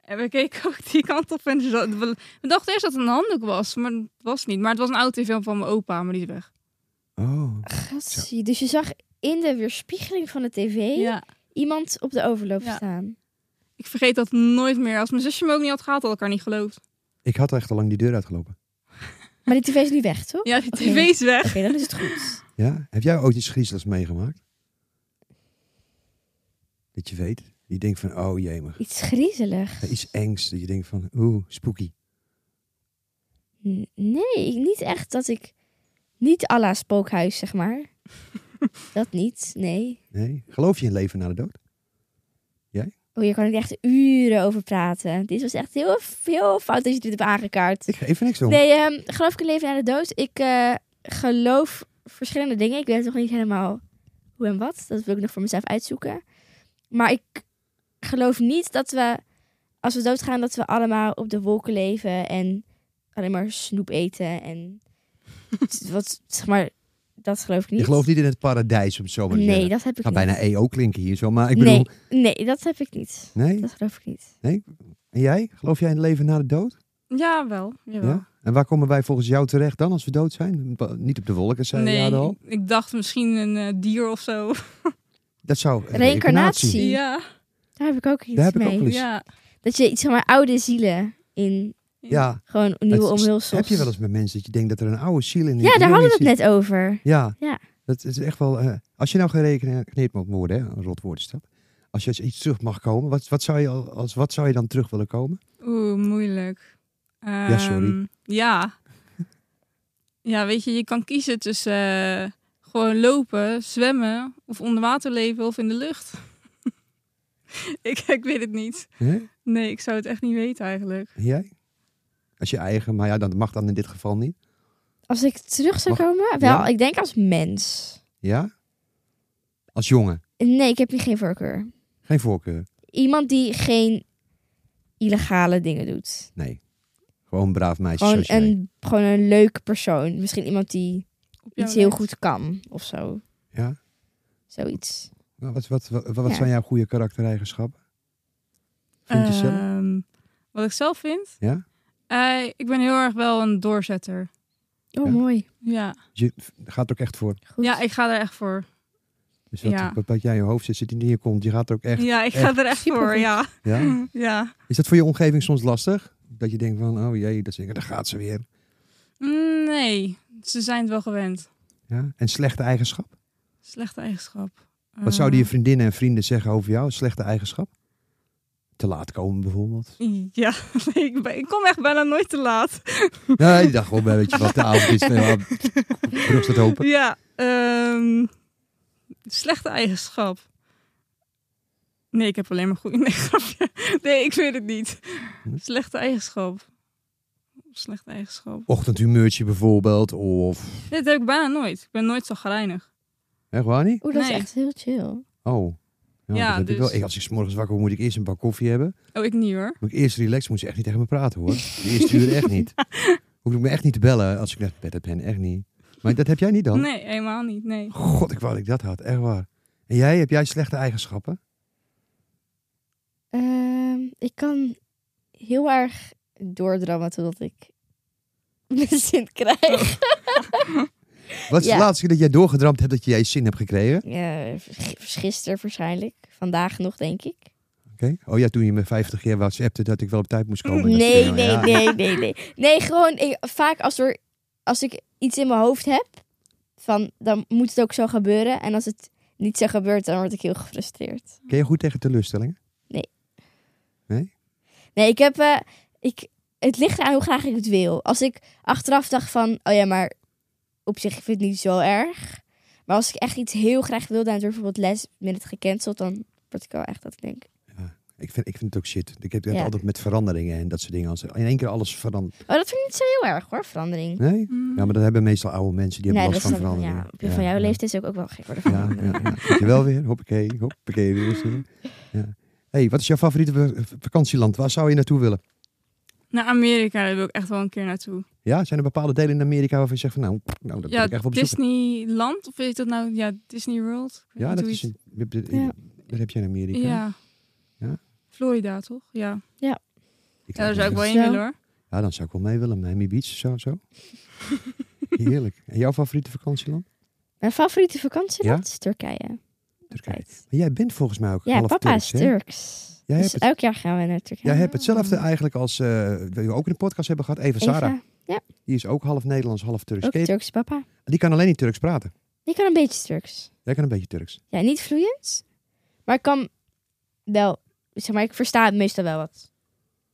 S5: En we keken ook die kant op en zo- we we dachten eerst dat het een handdoek was, maar het was niet. Maar het was een oude tv van mijn opa, maar die is weg.
S4: Oh.
S6: Gatsie. Dus je zag in de weerspiegeling van de tv iemand op de overloop
S5: Ja.
S6: staan.
S5: Ik vergeet dat nooit meer. Als mijn zusje me ook niet had gehad, had ik haar niet geloofd.
S4: Ik had echt al lang die deur uitgelopen.
S6: Maar die tv is nu weg, toch?
S5: Ja, die
S6: Oké.
S5: tv is weg.
S6: Oké, dan is het goed.
S4: Ja? Heb jij ooit iets griezeligs meegemaakt? Dat je weet. Je denkt van, oh jee, maar
S6: Iets griezelig.
S4: Ja, Iets engs. Dat je denkt van, oeh, spooky.
S6: N- Nee, niet echt dat ik... Niet à la spookhuis, zeg maar. dat niet, nee.
S4: Nee? Geloof je in leven na de dood?
S6: Oh, hier kan ik echt uren over praten. Dit was echt heel, heel fout dat je dit hebt aangekaart.
S4: Ik geef er niks om.
S6: Nee, ehm, geloof ik in leven na de dood? Ik eh, geloof verschillende dingen. Ik weet nog niet helemaal hoe en wat. Dat wil ik nog voor mezelf uitzoeken. Maar ik geloof niet dat we, als we doodgaan, dat we allemaal op de wolken leven en alleen maar snoep eten en wat, zeg maar, dat geloof ik niet.
S4: Je gelooft niet in het paradijs, om het zo maar te
S6: Nee,
S4: zeggen.
S6: dat heb ik
S4: Gaat
S6: niet.
S4: Nou, bijna EO klinken hier zo, maar ik bedoel...
S6: nee, nee, dat heb ik niet.
S4: Nee?
S6: Dat geloof ik niet.
S4: En jij? Geloof jij in het leven na de dood?
S5: Ja, wel. Jawel.
S4: Ja? En waar komen wij volgens jou terecht dan, als we dood zijn? Ba- Niet op de wolken, zei
S5: nee,
S4: je al.
S5: ik, ik dacht misschien een eh, dier of zo.
S4: Dat zou...
S6: Reïncarnatie.
S5: Ja,
S6: Daar heb ik ook iets
S4: Daar heb ik
S6: mee.
S4: ook wel eens-
S5: ja.
S6: Dat je iets zeg maar oude zielen in
S4: Ja.
S6: gewoon nieuwe
S4: Het-
S6: omhulsels.
S4: Heb je wel eens met mensen dat je denkt dat er een oude ziel in
S6: Ja, daar hadden we het net over.
S4: Ja.
S6: Ja.
S4: Dat is echt wel... eh, als je nou gerekeneerd moet worden, hè, een rot woord is dat. Als je als iets terug mag komen, wat, wat, zou je al- als, wat zou je dan terug willen komen?
S5: Oeh, moeilijk.
S4: sorry.
S5: Ehm, Ja. Ja, weet je, je kan kiezen tussen eh, gewoon lopen, zwemmen of onder water leven of in de lucht. ik, ik weet het niet.
S4: Hè?
S5: Nee, ik zou het echt niet weten eigenlijk.
S4: En jij? Als je eigen, maar ja, dat mag dan in dit geval niet.
S6: Als ik terug zou
S4: Mag-
S6: komen? Wel,
S4: Ja.
S6: ik denk als mens.
S4: Ja? Als jongen.
S6: Nee, ik heb hier geen voorkeur.
S4: Geen voorkeur.
S6: Iemand die geen illegale dingen doet.
S4: Nee. Gewoon een braaf meisje
S6: Gewoon
S4: zoals jij.
S6: een, gewoon een leuke persoon. Misschien iemand die
S5: Op jouw
S6: iets heel
S5: lijst.
S6: goed kan of zo.
S4: Ja?
S6: Zoiets.
S4: Nou, Wat, wat, wat, wat
S6: Ja.
S4: zijn jouw goede karaktereigenschappen? Vind je zelf?
S5: Ehm, wat ik zelf vind?
S4: Ja?
S5: Eh, ik ben heel erg wel een doorzetter.
S6: Oh,
S4: Ja.
S6: mooi.
S5: Ja,
S4: Je gaat er ook echt voor.
S6: Goed.
S5: ja ik ga er echt voor.
S4: Dus wat,
S5: Ja.
S4: wat, wat jij in je hoofd zit, zit niet in je kont. Je gaat er ook echt.
S5: ja, ik ga er echt voor,
S6: Supergoed.
S5: ja.
S4: Ja?
S5: ja.
S4: Is dat voor je omgeving soms lastig? Dat je denkt van, oh jee, dat zeker, daar gaat ze weer.
S5: Mm, Nee, ze zijn het wel gewend.
S4: Ja? En slechte eigenschap?
S5: Slechte eigenschap.
S4: Wat zouden je vriendinnen en vrienden zeggen over jou? Slechte eigenschap? Te laat komen bijvoorbeeld.
S5: Eh, Ja, nee, ik, ben- ik kom echt bijna nooit te laat.
S4: Nee, ik dacht gewoon, weet je wat, de avond is. nou, Brug staat open.
S5: Ja, ehm, slechte eigenschap. Nee, ik heb alleen maar goede. Nee, grapje. Nee, ik weet het niet.
S4: Hm?
S5: Slechte eigenschap. Slechte eigenschap.
S4: Ochtendhumeurtje bijvoorbeeld. Of,
S5: Dit heb ik bijna nooit. Ik ben nooit zo gereinigd.
S4: echt waar niet?
S6: Oeh, dat
S5: Nee.
S6: is echt heel chill.
S4: Oh. Ja,
S5: Ja,
S4: dat heb ik
S5: dus-
S4: wel. Ik, als ik 's morgens wakker word, moet ik eerst een bak koffie hebben.
S5: Oh, ik niet hoor.
S4: Moet ik eerst relaxen, moet ze echt niet tegen me praten hoor. De eerste uur echt niet. Hoef ik me echt niet te bellen als ik net op bed heb ben, echt niet. Maar dat heb jij niet dan?
S5: Nee, helemaal niet. Nee.
S4: God, ik wou dat ik dat had, echt waar. En jij, heb jij slechte eigenschappen?
S6: Ehm, ik kan heel erg doordrammen totdat ik mijn zin krijg.
S4: Wat is
S6: Ja.
S4: de laatste keer dat jij doorgedramd hebt dat je jij zin hebt gekregen?
S6: Ja, vers- gisteren waarschijnlijk. Vandaag nog, denk ik.
S4: Oké. Oh ja, toen je me 50 keer whatsappte dat ik wel op tijd moest komen. Dat soort
S6: Nee,
S4: dingen,
S6: nee,
S4: ja.
S6: nee, nee, nee. Nee, gewoon ik- vaak als, er, als ik iets in mijn hoofd heb, van, dan moet het ook zo gebeuren. En als het niet zo gebeurt, dan word ik heel gefrustreerd.
S4: Ken je goed tegen teleurstellingen?
S6: Nee, ik heb. eh, ik, het ligt aan hoe graag ik het wil. Als ik achteraf dacht van. Oh ja, maar op zich vind ik het niet zo erg. Maar als ik echt iets heel graag wilde en door bijvoorbeeld les met het gecanceld, dan word ik wel echt dat ik denk.
S4: Ik vind, ik vind het ook shit. Ik heb het
S6: Ja.
S4: altijd met veranderingen en dat soort dingen. Als er in één keer alles verandert.
S6: Oh, dat vind ik niet zo heel erg hoor, verandering.
S4: Nee?
S5: Mm.
S4: Ja, maar dat hebben meestal oude mensen. Die hebben
S6: dat
S4: last van
S6: is dan-
S4: veranderingen.
S6: ja, op je- van jouw
S4: ja.
S6: leeftijd is ook, ook wel gek worden.
S4: Ja, ja, ja. Weet je wel weer. Hoppakee, hoppakee. Weer eens doen. ja. hey, wat is jouw favoriete va- vakantieland? Waar zou je naartoe willen?
S5: Naar Amerika daar wil ik echt wel een keer naartoe.
S4: Ja, zijn er bepaalde delen in Amerika waarvan je zegt van nou, nou dat wil
S5: ja,
S4: ik echt wel bezoeken.
S5: Disneyland of weet dat nou? Ja, Disney World. Ik weet
S4: Ja,
S5: niet
S4: dat
S5: hoe
S4: is
S5: je
S4: een, je hebt- je-
S6: Ja.
S4: dat heb je in
S5: het-
S4: Amerika.
S5: ja.
S4: Ja.
S5: Florida toch? Ja.
S4: Ik
S5: ja daar
S4: laat
S5: zou ik
S4: me-
S5: wel
S6: Zo.
S5: in willen hoor.
S4: ja, dan zou ik wel mee willen. Miami Beach of zo. zo. Heerlijk. En jouw favoriete vakantieland?
S6: Mijn favoriete vakantieland is Turkije.
S4: Turkije. Maar jij bent volgens mij ook
S6: Ja,
S4: half
S6: papa
S4: Turks,
S6: is
S4: hè?
S6: Turks.
S4: Jij
S6: dus
S4: hebt het-
S6: elk jaar gaan we naar Turkije.
S4: Jij hebt hetzelfde eigenlijk als, eh die we ook in de podcast hebben gehad, Eva
S6: Eva,
S4: Sara. Die is ook half Nederlands, half Turks.
S6: ook
S4: Ken je-
S6: Turks papa.
S4: Die kan alleen niet Turks praten.
S6: Die kan een beetje Turks.
S4: Jij kan een beetje Turks.
S6: Ja, niet vloeiend. Maar ik kan wel... Zeg maar, ik versta meestal wel wat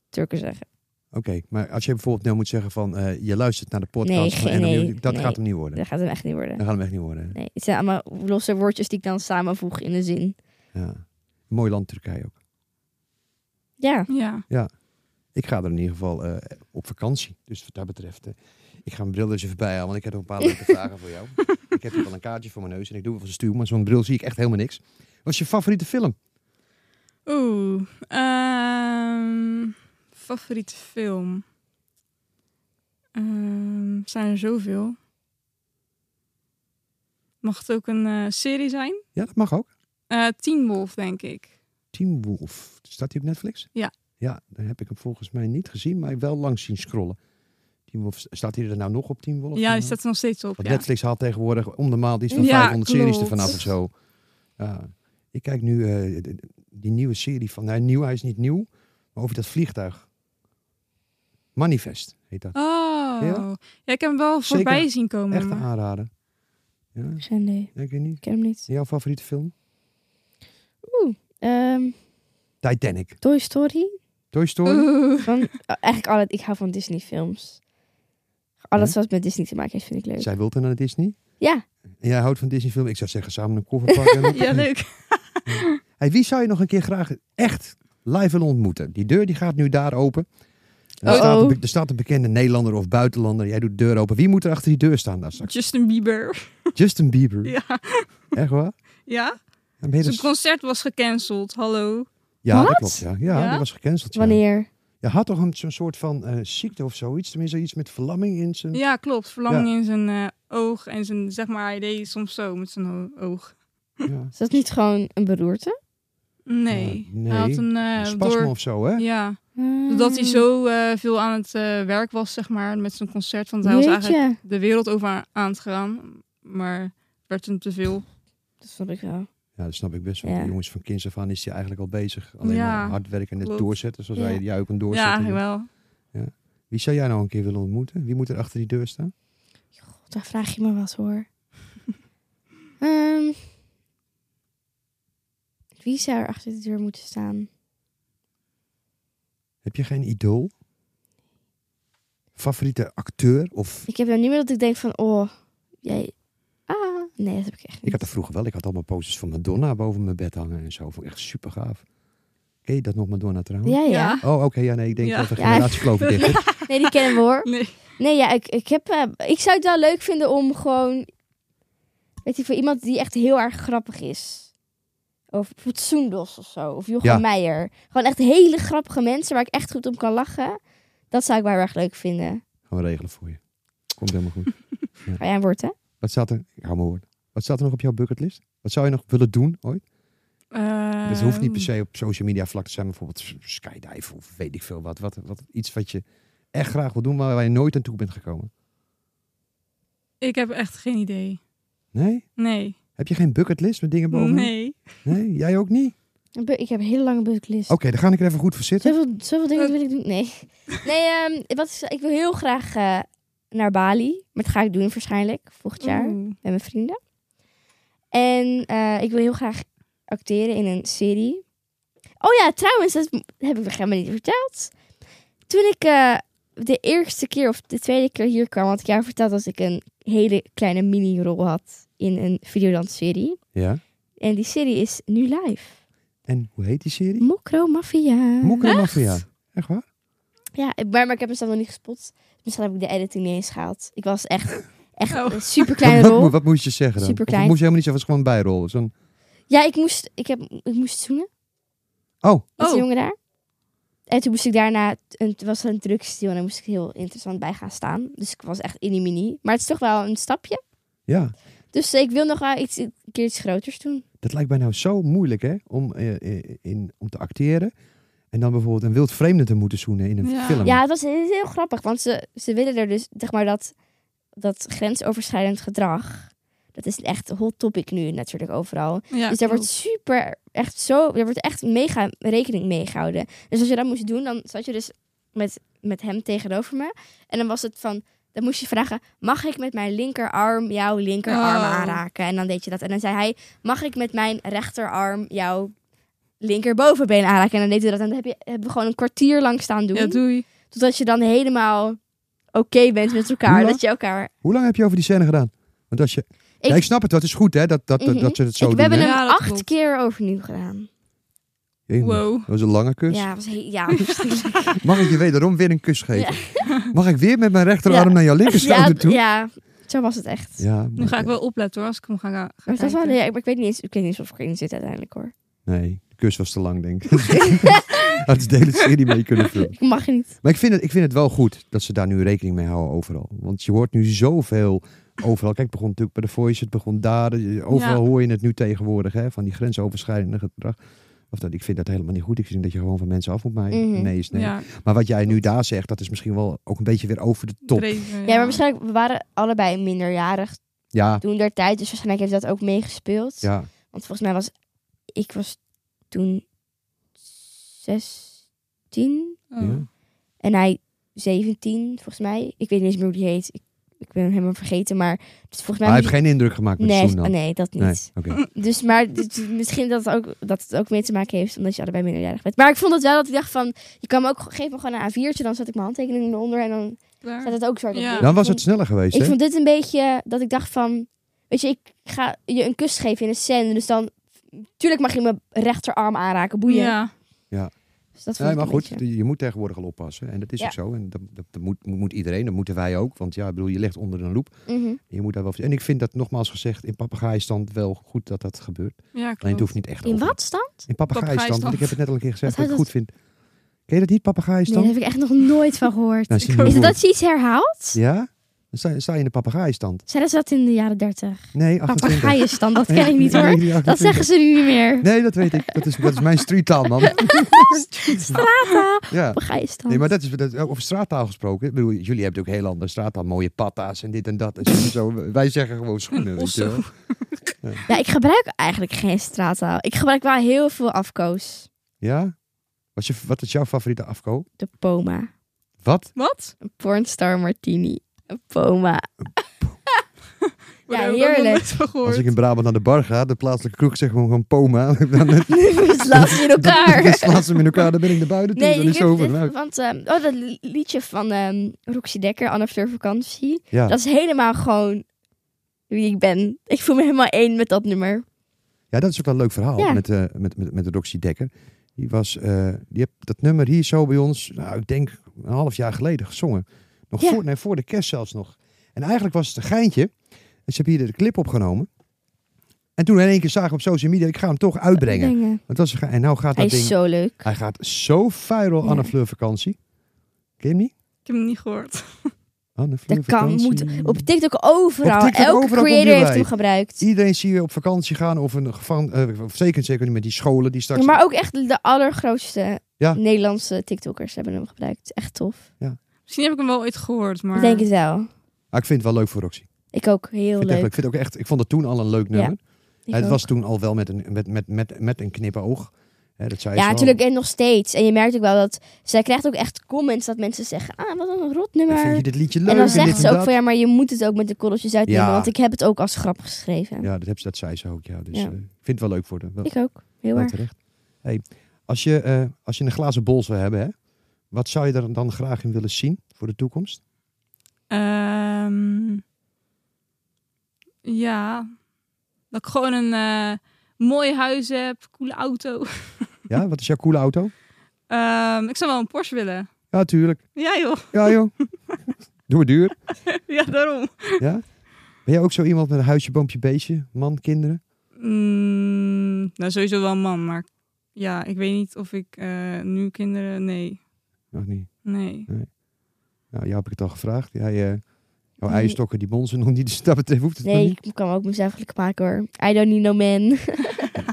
S6: Turken zeggen.
S4: Oké, maar als je bijvoorbeeld nou moet zeggen van, eh, je luistert naar de podcast
S6: Nee,
S4: van
S6: geen-
S4: NMU,
S6: nee,
S4: dat
S6: nee.
S4: gaat hem niet worden.
S6: Dat gaat hem echt niet worden.
S4: Dat gaat hem echt niet worden.
S6: Nee, het zijn allemaal losse woordjes die ik dan samenvoeg in een zin.
S4: Ja. Mooi land Turkije ook.
S6: Ja,
S5: Ja.
S4: Ik ga er in ieder geval eh, op vakantie. Dus wat dat betreft, eh, ik ga mijn bril dus even bij halen, want ik heb nog een paar leuke vragen voor jou. ik heb hier wel een kaartje voor mijn neus en ik doe wel een stuur, maar zo'n bril zie ik echt helemaal niks. Wat is je favoriete film?
S5: Oeh. ehm, favoriete film? Ehm, zijn er zoveel? Mag het ook een eh, serie zijn?
S4: Ja, dat mag ook.
S5: Eh Teen Wolf, denk ik.
S4: Team Wolf. Staat die op Netflix?
S5: Ja.
S4: Ja, dan heb ik hem volgens mij niet gezien, maar wel langs zien scrollen. Team Wolf, staat hij er nou nog op Team Wolf?
S5: Ja, die
S4: Eh,
S5: staat er nog steeds op.
S4: Want
S5: Ja.
S4: Netflix haalt tegenwoordig om de maand iets van
S5: Ja,
S4: 500 series
S5: klopt.
S4: ervan af of zo. Ja. ik kijk nu eh, de- de- die nieuwe serie van... Nou, nieuw, hij is niet nieuw, maar over dat vliegtuig. Manifest heet dat.
S5: Oh.
S4: Ja?
S5: Ja? ik heb hem wel
S4: Zeker.
S5: voorbij zien komen.
S4: Echt
S5: maar-
S4: een aanrader. Ja,
S6: Nee,
S4: ik weet niet.
S6: ik ken hem niet.
S4: Jouw favoriete film?
S6: Ehm,
S4: Titanic.
S6: Toy Story.
S4: Toy Story?
S5: Oeh.
S6: Van, oh, eigenlijk al het, ik hou van Disney films. Alles
S4: Ja?
S6: wat met Disney te maken heeft, vind ik leuk.
S4: Zij wil dan naar Disney.
S6: Ja,
S4: En jij houdt van Disney film? Ik zou zeggen samen een koffer pakken.
S5: Ja, leuk.
S4: Hey, wie zou je nog een keer graag echt live willen ontmoeten? Die deur die gaat nu daar open. Er,
S6: Uh-oh.
S4: staat een, be- er staat een bekende Nederlander of buitenlander. Jij doet de deur open. Wie moet er achter die deur staan daar straks?
S5: Justin Bieber.
S4: Justin Bieber.
S5: Ja.
S4: Echt waar?
S5: Ja?
S4: Ja, ben je
S5: Zijn
S4: dus-
S5: concert was gecanceld. Hallo.
S4: ja dat
S6: Wat?
S4: klopt. Ja, ja,
S5: Ja?
S4: die was gecanceld. Ja.
S6: wanneer?
S4: Je had toch een, zo'n soort van eh, ziekte of zoiets? Tenminste, iets met verlamming in zijn...
S5: Ja, klopt. Verlamming in zijn eh, oog en zijn, zeg maar, hij deed soms zo met zijn ho- oog.
S4: Ja.
S6: Is dat niet gewoon een beroerte?
S5: Nee.
S4: Ja, nee.
S5: Hij had een, eh,
S4: Een spasme
S5: door...
S4: of zo, hè?
S5: Ja, doordat hij zo eh, veel aan het eh, werk was, zeg maar, met zijn concert. Want hij was
S6: Jeetje.
S5: eigenlijk de wereld over aan het gaan, maar werd hem te veel.
S6: Dat vond ik wel.
S4: Ja, dat snap ik best wel.
S6: Ja.
S4: Die jongens van kinds af aan is hij eigenlijk al bezig. Alleen
S5: Ja,
S4: maar hard werken en het
S5: klopt.
S4: doorzetten, zoals
S6: Ja.
S4: jij, jij ook een
S5: Ja,
S4: doorzetten.
S5: eigenlijk wel.
S4: Wie zou jij nou een keer willen ontmoeten? Wie moet er achter die deur staan?
S6: God, daar vraag je me wat hoor. Ehm, wie zou er achter de deur moeten staan?
S4: Heb je geen idool? Favoriete acteur? Of...
S6: Ik heb nou niet meer dat ik denk van, oh, jij... Ah, nee, dat heb ik echt
S4: Ik
S6: niet.
S4: had er vroeger wel. Ik had allemaal posters van Madonna boven mijn bed hangen en zo. Vond ik echt super gaaf. Ken je dat nog, Madonna trouwens?
S6: Ja, ja.
S5: Ja.
S4: Oh, oké. ja, nee. Ik denk
S5: Ja.
S4: dat de
S6: Ja.
S4: generatiekloof dicht is.
S6: Nee, die kennen we hoor.
S5: Nee.
S6: Nee, ja, ik, ik, heb, eh, ik zou het wel leuk vinden om gewoon... Weet je, voor iemand die echt heel erg grappig is. Of bijvoorbeeld Soendos of zo. Of Jochem
S4: Ja.
S6: Meijer. Gewoon echt hele grappige mensen waar ik echt goed om kan lachen. Dat zou ik wel heel erg leuk vinden.
S4: Gaan we regelen voor je. Komt helemaal goed.
S6: Ga jij een woord, hè?
S4: Wat staat er? Ik hou mijn woord. Wat staat er nog op jouw bucketlist? Wat zou je nog willen doen ooit?
S5: Eh,
S4: Het hoeft niet per se op social media vlak te zijn. Bijvoorbeeld skydive of weet ik veel wat. wat, wat iets wat je echt graag wil doen, maar waar je nooit aan toe bent gekomen.
S5: Ik heb echt geen idee.
S4: Nee?
S5: Nee.
S4: Heb je geen bucketlist met dingen boven?
S5: Nee.
S4: Nee? Jij ook niet?
S6: Een bu- Ik heb een hele lange bucketlist.
S4: Oké, dan ga ik er even goed voor zitten.
S6: Zoveel, zoveel dingen wil ik doen. Nee. Eh. Nee, ehm, wat is, ik wil heel graag eh, naar Bali. Maar dat ga ik doen waarschijnlijk volgend jaar.
S5: Oeh.
S6: met mijn vrienden. En eh, ik wil heel graag acteren in een serie. Oh ja, trouwens, dat heb ik nog helemaal niet verteld. Toen ik eh, de eerste keer of de tweede keer hier kwam, had ik jou verteld dat ik een hele kleine mini-rol had in een Videoland-serie.
S4: Ja.
S6: En die serie is nu live.
S4: En hoe heet die serie?
S6: Mokro Mafia.
S4: Mokka Mafia. Echt waar?
S6: Ja, ik- maar, maar ik heb mezelf nog niet gespot. Misschien heb ik de editing niet eens gehaald. Ik was echt, echt
S5: Oh.
S6: een super kleine
S4: wat, wat,
S6: rol.
S4: mo- wat moest je zeggen dan?
S6: Superklein.
S4: Of moest je helemaal niet zeggen, het was gewoon een bijrol. Zo'n,
S6: Ja, ik moest, ik heb, ik moest zoenen.
S4: oh,
S6: met
S5: Oh.
S6: de jongen daar. En toen moest ik daarna, een, het was een drugsdeal en daar moest ik heel interessant bij gaan staan. Dus ik was echt in die mini. Maar het is toch wel een stapje.
S4: ja.
S6: Dus ik wil nog wel iets, een keer iets groters doen.
S4: Dat lijkt mij nou zo moeilijk, hè? Om, eh, eh, in, om te acteren. En dan bijvoorbeeld een wild vreemde te moeten zoenen in een
S5: Ja.
S4: film.
S6: Ja, het was heel, heel grappig, want ze, ze willen er dus, zeg maar, dat, dat grensoverschrijdend gedrag. Dat is echt een hot topic nu natuurlijk overal.
S5: Ja,
S6: dus daar wordt
S5: klopt.
S6: super, echt zo, daar wordt echt mega rekening mee gehouden. Dus als je dat moest doen, dan zat je dus met, met hem tegenover me. En dan was het van, dan moest je vragen, mag ik met mijn linkerarm jouw linkerarm
S5: Oh.
S6: aanraken? En dan deed je dat. En dan zei hij, mag ik met mijn rechterarm jouw linkerbovenbeen aanraken? En dan deed hij dat. En dan heb je, hebben we gewoon een kwartier lang staan doen.
S5: Ja, doei.
S6: Totdat je dan helemaal oké bent met elkaar.
S4: Hoe lang?
S6: Dat je elkaar...
S4: Hoe lang heb je over die scène gedaan? Want als je...
S6: Ik-
S4: Ja, ik snap het, dat is goed, hè? Dat, dat, dat,
S6: Mhm.
S4: dat ze het zo
S6: Ik- we
S4: doen,
S6: hebben
S4: hè?
S6: hem
S5: Ja, dat
S6: acht
S5: klopt.
S6: keer overnieuw gedaan.
S4: Jee,
S5: Wow.
S4: Dat was een lange kus.
S6: Ja, was he- ja verschrikkelijk.
S4: Mag ik je wederom weer een kus geven? Mag ik weer met mijn rechterarm
S6: Ja.
S4: naar jouw linkerschouder
S6: ja,
S4: toe?
S6: ja, Zo was het echt.
S4: Ja,
S5: Nu ga ik wel opletten hoor, als ik hem ga, ga
S6: Maar het was wel,
S5: kijken.
S6: nee, ik, maar ik weet niet eens, ik weet niet eens of ik erin zit uiteindelijk hoor.
S4: Nee, de kus was te lang, denk ik. Had ze de hele serie mee kunnen vullen.
S6: Ik mag je niet.
S4: Maar ik vind, het, ik vind het wel goed dat ze daar nu rekening mee houden overal. Want je hoort nu zoveel overal. Kijk, het begon natuurlijk bij de Voice, het begon daar. eh, Overal
S5: Ja.
S4: hoor je het nu tegenwoordig, hè, van die grensoverschrijdende gedrag. Of dat, ik vind dat helemaal niet goed. Ik vind dat je gewoon van mensen af moet mij.
S6: Mhm.
S4: Nee is nee.
S5: Ja,
S4: Maar wat jij nu daar zegt, dat is misschien wel ook een beetje weer over de top.
S5: dreven,
S6: Ja, maar waarschijnlijk we waren allebei minderjarig
S4: Ja,
S6: toen der tijd. Dus waarschijnlijk heeft dat ook meegespeeld.
S4: ja.
S6: Want volgens mij was ik was toen 16
S5: Oh.
S4: Ja.
S6: en hij 17 volgens mij. Ik weet niet eens meer hoe die heet. Ik, ik ben hem helemaal vergeten, maar dus volgens
S4: Maar
S6: mij
S4: hij heeft
S6: was
S4: geen indruk gemaakt
S6: die-
S4: met
S6: nee,
S4: Soen dan.
S6: nee, dat niet.
S4: oké.
S6: Dus maar dit- misschien dat het, ook, dat het ook mee te maken heeft omdat je allebei minderjarig bent. Maar ik vond het wel dat ik dacht van je kan me ook geef me gewoon een A4'tje, dan zet ik mijn handtekening eronder en dan
S5: Klaar.
S6: staat het ook zwart op
S5: Ja.
S6: wit.
S4: Dan
S6: Ik
S4: was
S6: vond-
S4: het sneller geweest,
S6: ik
S4: hè?
S6: vond dit een beetje dat ik dacht van, weet je, ik ga je een kus geven in een scène, dus dan, tuurlijk mag je mijn rechterarm aanraken, boeien.
S5: Ja.
S6: Dus dat vond
S4: Nee,
S6: ik
S4: maar
S6: een
S4: goed,
S6: beetje-
S4: je moet tegenwoordig al oppassen. En dat is
S6: Ja.
S4: ook zo. En dat, dat, dat moet, moet iedereen, dat moeten wij ook. Want ja, ik bedoel, je ligt onder een loep.
S6: Mhm.
S4: Je moet daar wel... En ik vind dat, nogmaals gezegd, in papegaaistand wel goed dat dat gebeurt.
S5: ja, klopt.
S4: Alleen het hoeft niet echt
S6: Oh. In
S4: over-
S6: wat stand?
S4: In papegaaistand, want ik heb het net al een keer gezegd dat ik
S6: Wat
S4: het goed
S6: houdt
S4: vind. Ken je dat niet,
S6: Nee,
S4: papegaaistand?
S6: daar heb ik echt nog nooit van gehoord.
S4: Nou,
S6: Is
S4: zie je
S6: het
S4: hoe-
S6: dat ze iets herhaalt?
S4: Ja? Dan sta, sta je in de papegaaistand.
S6: Zeiden ze dat in de jaren dertig?
S4: Nee, 28.
S6: Papagaaien dat
S4: Nee,
S6: ken ik niet
S4: nee,
S6: hoor.
S4: nee, niet
S6: Dat
S4: 28.
S6: zeggen ze nu niet meer.
S4: Nee, dat weet ik. Dat is, dat is mijn streettaal, man.
S6: Strata,
S4: Ja.
S6: papagaaienstand.
S4: Nee, maar dat is, dat, over straattaal gesproken. Ik bedoel, jullie hebben ook heel andere straattaal. Mooie patta's en dit en dat. En zo, en zo. Wij zeggen gewoon schoenen. Weet je
S5: Osso.
S4: wel.
S6: Ja, ik gebruik eigenlijk geen straattaal. Ik gebruik wel heel veel afkoos.
S4: Ja? Wat is, je, wat is jouw favoriete afko?
S6: De Poma.
S4: Wat?
S5: Wat?
S6: Een pornstar martini. Een Poma.
S5: Daar heb ik ook
S6: heerlijk.
S5: nog nooit van gehoord.
S4: Als ik in Brabant naar de bar ga, de plaatselijke kroeg zegt gewoon gewoon poma. Dan, dan,
S6: Slaat ze in elkaar.
S4: dan slaan ze hem in elkaar, dan ben ik naar buiten toe.
S6: Nee,
S4: dan
S6: ik
S4: is het
S6: heb
S4: over.
S6: dit-
S4: Nou,
S6: want ehm, oh, dat li- liedje van ehm Roxy Dekker, Anne Fleur Vakantie.
S4: ja.
S6: Dat is helemaal gewoon wie ik ben. Ik voel me helemaal één met dat nummer.
S4: ja, dat is ook wel een leuk verhaal
S6: Ja.
S4: met, eh met, met, met Roxy Dekker. Die, was, eh, die heeft dat nummer hier zo bij ons, nou, ik denk een half jaar geleden gezongen. Nog
S6: Ja.
S4: voor, nee, voor de kerst zelfs nog. En eigenlijk was het een geintje. En ze hebben hier de clip opgenomen. En toen in één keer zagen we op social media, ik ga hem toch uitbrengen.
S6: Brengen.
S4: Want dat is, een ge- en nou gaat
S6: Hij
S4: dat ding...
S6: is zo leuk.
S4: Hij gaat zo viral
S6: Ja.
S4: Anne Fleur vakantie. Ken je hem niet?
S5: Ik heb hem niet gehoord.
S4: Anne Fleur
S6: Dat kan,
S4: vakantie.
S6: moet. Op TikTok overal.
S4: Op TikTok
S6: Elke
S4: overal komt
S6: creator
S4: hij
S6: heeft
S4: bij.
S6: hem gebruikt.
S4: Iedereen zie je op vakantie gaan of een gevangen, eh, of zeker zeker niet met die scholen die straks.
S6: Maar ook echt de allergrootste
S4: Ja.
S6: Nederlandse TikTokkers hebben hem gebruikt. Echt tof.
S5: Misschien heb ik hem wel ooit gehoord, maar...
S6: Ik denk het wel.
S4: Ah, ik vind het wel leuk voor Roxy. Ik
S6: Ik ook. Heel
S4: vind, het echt,
S6: leuk.
S4: leuk. ik vind het ook echt. Ik vond het toen al een leuk nummer.
S6: Ik
S4: het
S6: ook.
S4: was toen al wel met een met met met, met een knippenoog. Hè, dat zei ze
S6: ja,
S4: al.
S6: natuurlijk. En nog steeds. En je merkt ook wel dat... Zij krijgt ook echt comments dat mensen zeggen... Ah, wat een rot nummer.
S4: Vind je dit liedje leuk?
S6: En dan
S4: dit
S6: zegt ze ook
S4: dat?
S6: van ja, maar je moet het ook met de korreltjes uitnemen,
S4: Ja.
S6: want ik heb het ook als grap geschreven.
S4: Ja, dat, heb, ze- dat zei ze ook. Ja, dus
S6: Ja.
S4: eh, ik vind het wel leuk voor de. Wel,
S6: Ik ook, heel
S4: wel
S6: erg.
S4: terecht. Hey, als je eh, als je een glazen bol zou hebben, hè, wat zou je er dan graag in willen zien voor de toekomst?
S5: Ehm, ja. Dat ik gewoon een eh, mooi huis heb, coole auto.
S4: Ja, wat is jouw coole auto?
S5: Ehm, ik zou wel een Porsche willen.
S4: Ja, tuurlijk.
S5: Ja joh,
S4: Ja, joh. Doe het duur.
S5: ja daarom.
S4: Ja? Ben jij ook zo iemand met een huisje, boompje, beestje? Man, kinderen?
S5: Mm, nou sowieso wel een man, maar ja, ik weet niet of ik eh, nu kinderen... Nee,
S4: Nog niet.
S5: nee.
S4: Nou, jou heb ik het al gevraagd. Jij, eh, jouw
S6: Nee.
S4: eierstokken, die bonzen nog niet. Dus dat betreft hoeft het nog
S6: Nee, ik kan ook mezelf gelukkig maken hoor. I don't need no man.
S4: niet.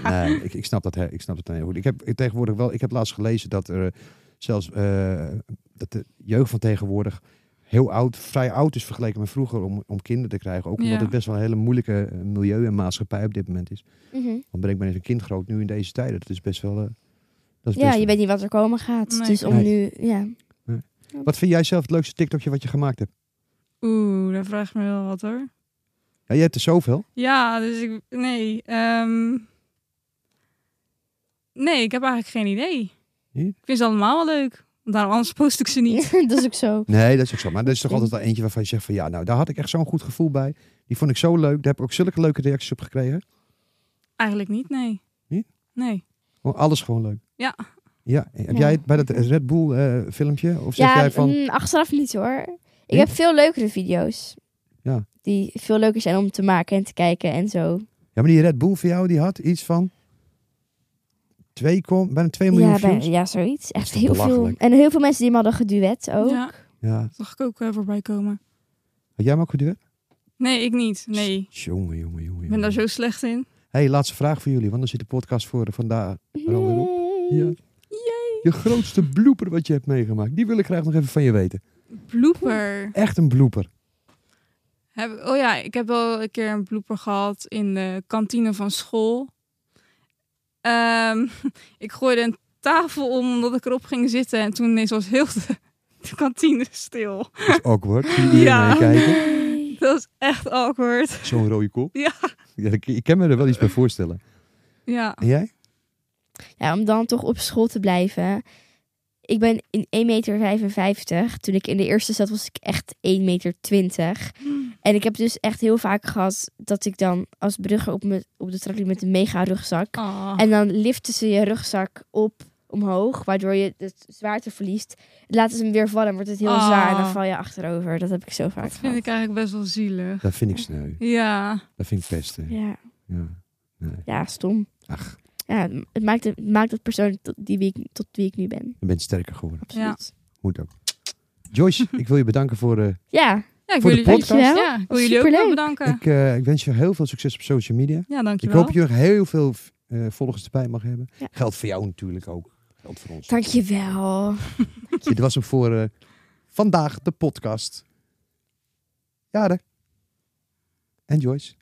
S4: Nee, ik, ik snap dat. hè. Ik snap dat heel goed. Ik heb ik tegenwoordig wel... Ik heb laatst gelezen dat er eh, zelfs... eh, dat de jeugd van tegenwoordig heel oud, vrij oud is vergeleken met vroeger om, om kinderen te krijgen. Ook omdat
S5: Ja.
S4: het best wel een hele moeilijke eh, milieu en maatschappij op dit moment is.
S6: Mhm.
S4: Want breng maar eens een kind groot nu in deze tijden. Dat is best wel... eh, dat is best
S6: Ja, je
S4: wel-
S6: weet niet wat er komen gaat.
S5: Nee.
S6: Dus om
S4: Nee.
S6: nu, ja.
S4: Wat vind jij zelf het leukste TikTokje wat je gemaakt hebt?
S5: Oeh, daar vraag je me wel wat hoor.
S4: Ja, je hebt er zoveel.
S5: Ja, dus ik... Nee, ehm, nee, ik heb eigenlijk geen idee.
S4: Niet?
S5: Ik vind ze allemaal wel leuk. Want daarom anders post ik ze niet.
S6: dat is ook zo.
S4: Nee, dat is ook zo. Maar er is toch altijd wel eentje waarvan je zegt van ja, nou daar had ik echt zo'n goed gevoel bij. Die vond ik zo leuk. Daar heb ik ook zulke leuke reacties op gekregen.
S5: Eigenlijk niet, nee.
S4: Niet?
S5: Nee.
S4: Gewoon alles gewoon leuk.
S5: Ja.
S4: Ja, heb
S6: Ja.
S4: jij het bij dat Red Bull eh, filmpje? Of zeg
S6: Ja,
S4: jij van.
S6: mm, achteraf niet hoor. Ik
S4: Niet?
S6: heb veel leukere video's.
S4: Ja.
S6: die veel leuker zijn om te maken en te kijken en zo.
S4: Ja, maar die Red Bull voor jou, die had iets van... 2, bijna 2 miljoen
S6: ja, bijna-
S4: views.
S6: ja, zoiets. Echt
S4: toch
S6: heel veel.
S4: belachelijk?
S6: En heel veel mensen die hem hadden geduet ook.
S5: Ja,
S4: Ja.
S5: zag ik ook eh, voorbij komen.
S4: Had jij hem ook geduurd?
S5: Nee, ik niet. Nee,
S4: Jongen, jongen, jongen.
S5: ik ben daar
S4: jongen.
S5: zo slecht in.
S4: hey, laatste vraag voor jullie, want dan zit de podcast voor vandaag. er alweer op.
S6: Yay.
S4: Oh, Ja. Je grootste blooper wat je hebt meegemaakt, die wil ik graag nog even van je weten.
S5: Blooper.
S4: Echt een blooper.
S5: Heb, ik- oh ja, ik heb wel een keer een blooper gehad in de kantine van school. Ehm, ik gooide een tafel om omdat ik erop ging zitten. En toen ineens was heel de, de kantine stil.
S4: Dat is awkward. Zie je iedereen
S5: Ja.
S4: meekijken?
S5: Dat was echt awkward.
S4: Zo'n rode kop.
S5: Ja.
S4: Ja, ik, ik kan me er wel iets bij voorstellen.
S5: Ja.
S4: En jij?
S6: Ja, om dan toch op school te blijven. Ik ben in 1,55 meter. Toen ik in de eerste zat was ik echt 1,20 meter. En ik heb dus echt heel vaak gehad dat ik dan als brugger op, me, op de trap liep met een mega rugzak.
S5: Ah.
S6: En dan liften ze je rugzak op omhoog, waardoor je het zwaarte verliest. Laten ze hem weer vallen, wordt het heel
S5: Ah.
S6: zwaar en dan val je achterover. Dat heb ik zo vaak
S5: dat vind
S6: gehad.
S5: ik eigenlijk best wel zielig.
S4: Dat vind ik sneu.
S5: Ja.
S4: Dat vind ik pesten.
S6: Ja,
S4: Ja. Nee.
S6: ja, stom.
S4: Ach,
S6: Ja, het maakt, het maakt het persoon tot, die wie ik, tot wie ik nu ben.
S4: je bent sterker geworden.
S6: Absoluut.
S4: Moet ook. Joyce, ik wil je bedanken voor... eh,
S6: Ja,
S5: Ja, ik
S4: Voor
S5: wil
S4: de
S5: jullie,
S4: podcast?
S5: ja, ik wil jullie ook wel
S6: Superleuk.
S5: bedanken.
S4: ik, eh, ik wens je heel veel succes op social media.
S5: Ja,
S4: Ik
S5: dankjewel.
S4: hoop dat je nog heel veel eh, volgers erbij mag hebben.
S6: Ja.
S4: Geldt voor jou natuurlijk ook. Geldt voor ons.
S6: dankjewel.
S4: Dit was hem voor eh, vandaag, de podcast. Jaren. En Joyce.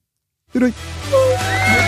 S4: Doei doei.
S5: Doei.